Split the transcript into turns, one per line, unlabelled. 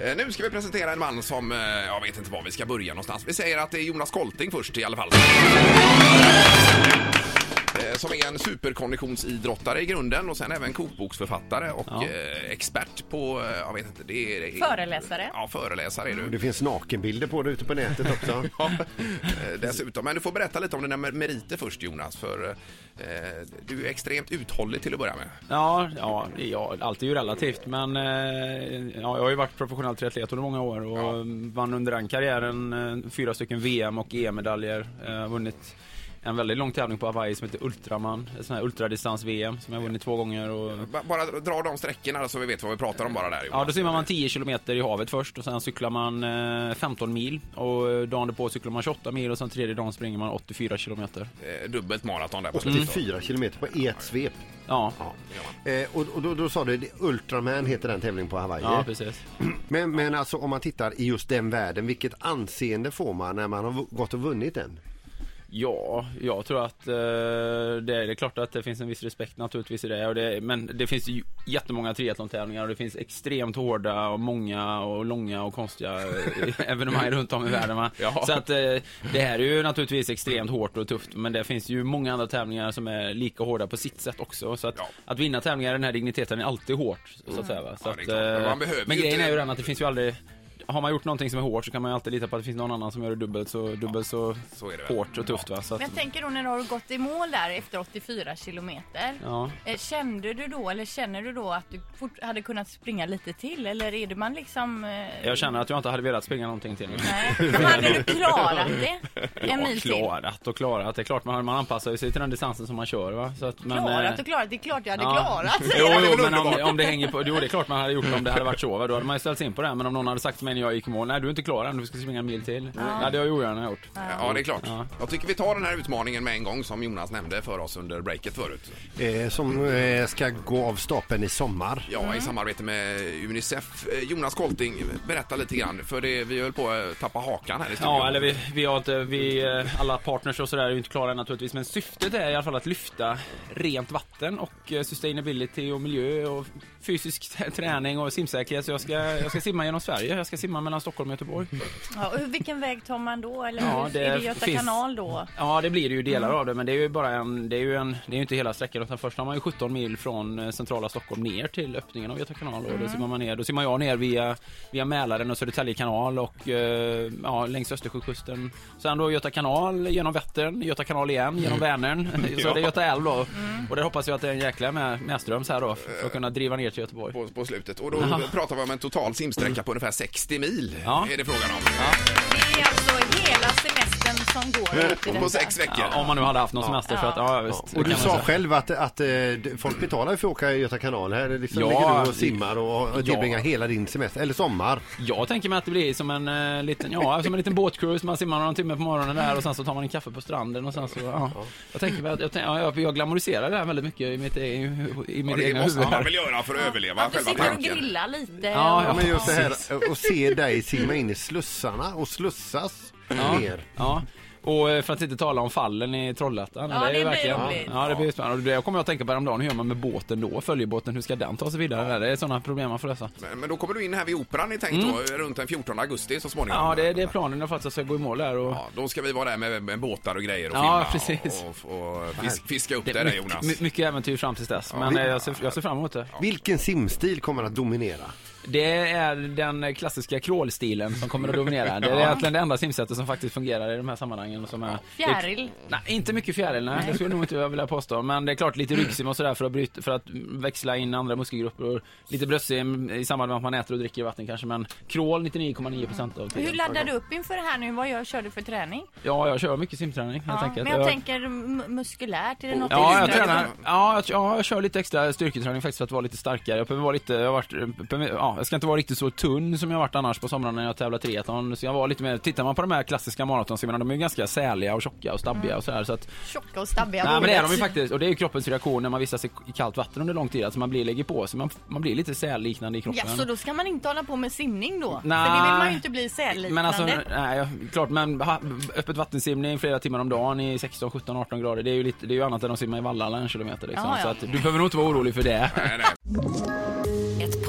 Eh, Nu ska vi presentera en man som, eh, jag vet inte var vi ska börja någonstans. Vi säger att det är Jonas Kolting först i alla fall. Eh, Som är en superkonditionsidrottare i grunden och sen även kokboksförfattare och eh, expert på, eh, jag vet inte, det är... det är-
Föreläsare.
Ja, föreläsare är du.
Det finns nakenbilder på det ute på nätet också.
Ja, eh, dessutom. Men du får berätta lite om dina mer- meriter först Jonas, för eh, du är extremt uthållig till att börja med.
Ja, ja, ja, allt är ju relativt men eh, ja, jag har ju varit professionell triatlet under många år och eh, vann under den karriären eh, fyra stycken VM och EM-medaljer. Eh, vunnit en väldigt lång tävling på Hawaii som heter Ultraman, ett sån här ultradistans-VM som jag vunnit två gånger. Och,
Ba- Bara dra de sträckorna så vi vet vad vi pratar om bara där
ja,
Jonas.
då simmar man 10 kilometer i havet först och sen cyklar man eh, 15 mil och eh, dagen därpå cyklar man 28 mil och sen tredje dagen springer man 84 kilometer.
Eh, Dubbelt maraton där på slutet.
84 kilometer på i ett svep.
Ja,
Ja. Eh, och och då, då sa du, det- Ultraman heter den tävlingen på Hawaii.
ja precis.
Men, men alltså om man tittar i just den världen, vilket anseende får man när man har v- gått och vunnit den?
Ja, jag tror att eh, det, är, det är klart att det finns en viss respekt naturligtvis i det, och det Men det finns ju jättemånga triathlon-tävlingar och det finns extremt hårda och många och långa och konstiga eh, evenemang runt om i världen va?
Ja.
Så att eh, det här är ju naturligtvis extremt hårt och tufft men det finns ju många andra tävlingar som är lika hårda på sitt sätt också. Så att,
Ja.
att vinna tävlingar i den här digniteten är alltid hårt. Så att säga, va? Så
Ja,
att,
det är klart. Men
eh,
man behöver
men
ju
grejen
inte-
är ju den att det finns ju aldrig har man gjort någonting som är hårt så kan man ju alltid lita på att det finns någon annan som gör det dubbelt så, dubbelt så,
så är det väl.
hårt och tufft va. Så att,
Men jag tänker då när du har gått i mål där efter 84 kilometer.
Ja.
Eh, Kände du då, eller känner du då att du fort hade kunnat springa lite till? Eller är det man liksom... eh,
Jag känner att jag inte hade velat springa någonting till.
Nej. Men hade du klarat det? En mil till?
Klarat och klarat. Det är klart man, man anpassar ju sig till den distansen som man kör va. Så att, men,
Klarat
eh,
och klarat, det är klart jag hade
ja.
klarat.
Jo,
säger han.
jo men om, om det hänger på, jo det är klart man hade gjort det om det hade varit så va? Då hade man ju ställt sig in på det. här. Men om någon hade sagt till mig när jag gick i mål, nej du är inte klar än, du ska springa en mil till. Ja. Det hade jag ju ogärna gjort.
Ja, det är klart.
Mm. Ja.
Jag tycker vi tar den här utmaningen med en gång som Jonas nämnde för oss under breaket förut.
Eh, som eh, ska gå av stapeln i sommar.
Ja,
Mm.
i samarbete med Unicef. Eh, Jonas Kolting, berätta lite grann, för det, vi höll på att tappa hakan här i studion.
Ja, eller vi, vi har inte, vi, eh, alla partners och sådär är ju inte klara än naturligtvis, men syftet är i alla fall att lyfta rent vatten och eh, sustainability och miljö och fysisk t- träning och simsäkerhet. Så jag ska, jag ska simma genom Sverige, jag ska simma mellan Stockholm och Göteborg.
Ja, och vilken väg tar man då? Eller
Ja,
hur- är
det
det Göta
finns-
kanal då?
Ja, det blir det ju delar av det, men det är ju bara en, det är ju en, det är ju inte hela sträckan utan först har man ju 17 mil från eh, centrala Stockholm ner till öppningen av Göta kanal och då simmar man ner, då simmar jag ner via, via Mälaren och Södertälje kanal och eh, ja, längs Östersjökusten. Sen då Göta kanal, genom Vättern, Göta kanal igen, genom Vänern, så det är Göta älv då. Och där hoppas jag att det är en jäkla med, medströms här då, för att kunna driva ner till Göteborg.
På, på slutet. Och då pratar vi om en total simsträcka på ungefär 60 mil.
Ja.
Är det frågan om.
Det är alltså hela semestern som
Mm.
går åt i
Och
detta.
på sex veckor.
Ja, om man nu hade haft någon semester så att, ja visst. det
Och
kan
du
man
sa
säga.
själv att, att eh, d- folk betalar ju för att åka Göta kanal. Här liksom
Ja.
ligger du och simmar och och
Ja.
tillbringar hela din semester, eller sommar.
Jag tänker mig att det blir som en eh, liten, ja, som en liten båtcruise. Man simmar någon timme på morgonen där och sen så tar man en kaffe på stranden och sen så, ja. Jag tänker mig att, jag, tänk- ja, jag, jag glamoriserar det här väldigt mycket i mitt, e- i
Ja,
mitt
det
egna
måste
huvud.
man
Här.
väl göra för att överleva
Att du
själva
sitter och
tanken.
grillar lite.
Ja,
Ja,
och-
men just det här och se dig simma in i slussarna och slussas ner.
Ja. Och eh, för att inte tala om fallen i Trollhättan.
Ja, det
är ju
blir
verkligen-
roligt.
Ja, det blir spännande. Och det kommer jag att tänka på häromdagen. Hur gör man med båten då? Följebåten, hur ska den ta sig vidare? Det är sådana problem man får lösa.
Men, men då kommer du in här vid Operan ni tänkt då, runt den 14 augusti så småningom.
Mm. Ja, det, det är planen för att jag ska gå i mål där och...
Ja, då ska vi vara där med, med båtar och grejer och filma
Ja, precis.
och, och, och fisk, fiska upp det
är
där
mycket-
Jonas.
my- mycket äventyr fram till dess, men eh, jag ser, jag ser fram emot det.
Vilken simstil kommer att dominera?
Det är den klassiska crawl-stilen som kommer att dominera. Det är egentligen det enda simsättet som faktiskt fungerar i de här sammanhangen. och Som är,
Fjäril.
Det, nej, inte mycket fjäril, nej. Det skulle jag nog inte jag vilja påstå. Men det är klart lite ryggsim och sådär för att, bryta, för att växla in andra muskelgrupper. Och lite bröstsim i samband med att man äter och dricker vatten kanske. Men crawl 99,9% av
Hur
tiden.
laddar du upp inför det här nu? Vad gör, kör du för träning?
Ja, jag kör mycket simträning helt
Ja,
enkelt.
men jag
Jag-
tänker m- muskulärt, är det något
Ja,
du
jag
tränar?
tränar. Ja, jag, ja, jag kör lite extra styrketräning faktiskt för att vara lite starkare. Jag behöver vara lite, jag har varit, behöver- ja, jag ska inte vara riktigt så tunn som jag varit annars på somrarna när jag tävlar triathlon. Så jag var lite mer, tittar man på de här klassiska maratonsimmarna, de är ju ganska säliga och tjocka och stabbiga och sådär. Så att,
Tjocka och stabbiga
nej men det är de ju
bordet.
faktiskt. Och det är ju kroppens reaktion när man vistas i, i kallt vatten under lång tid. Alltså man blir, lägger på sig, man, man blir lite sälliknande i kroppen.
Ja, så då ska man inte hålla på med simning då? För det
Nej.
vill man ju inte bli sälliknande.
Men alltså, nej, jag- klart, men ha, öppet vattensimning flera timmar om dagen i 16, 17, 18 grader. Det är ju, lite, det är ju annat än att simma i Valhalla en kilometer liksom.
Ja, ja.
Så att, du behöver nog inte vara orolig för det.
Nej, nej.
Ett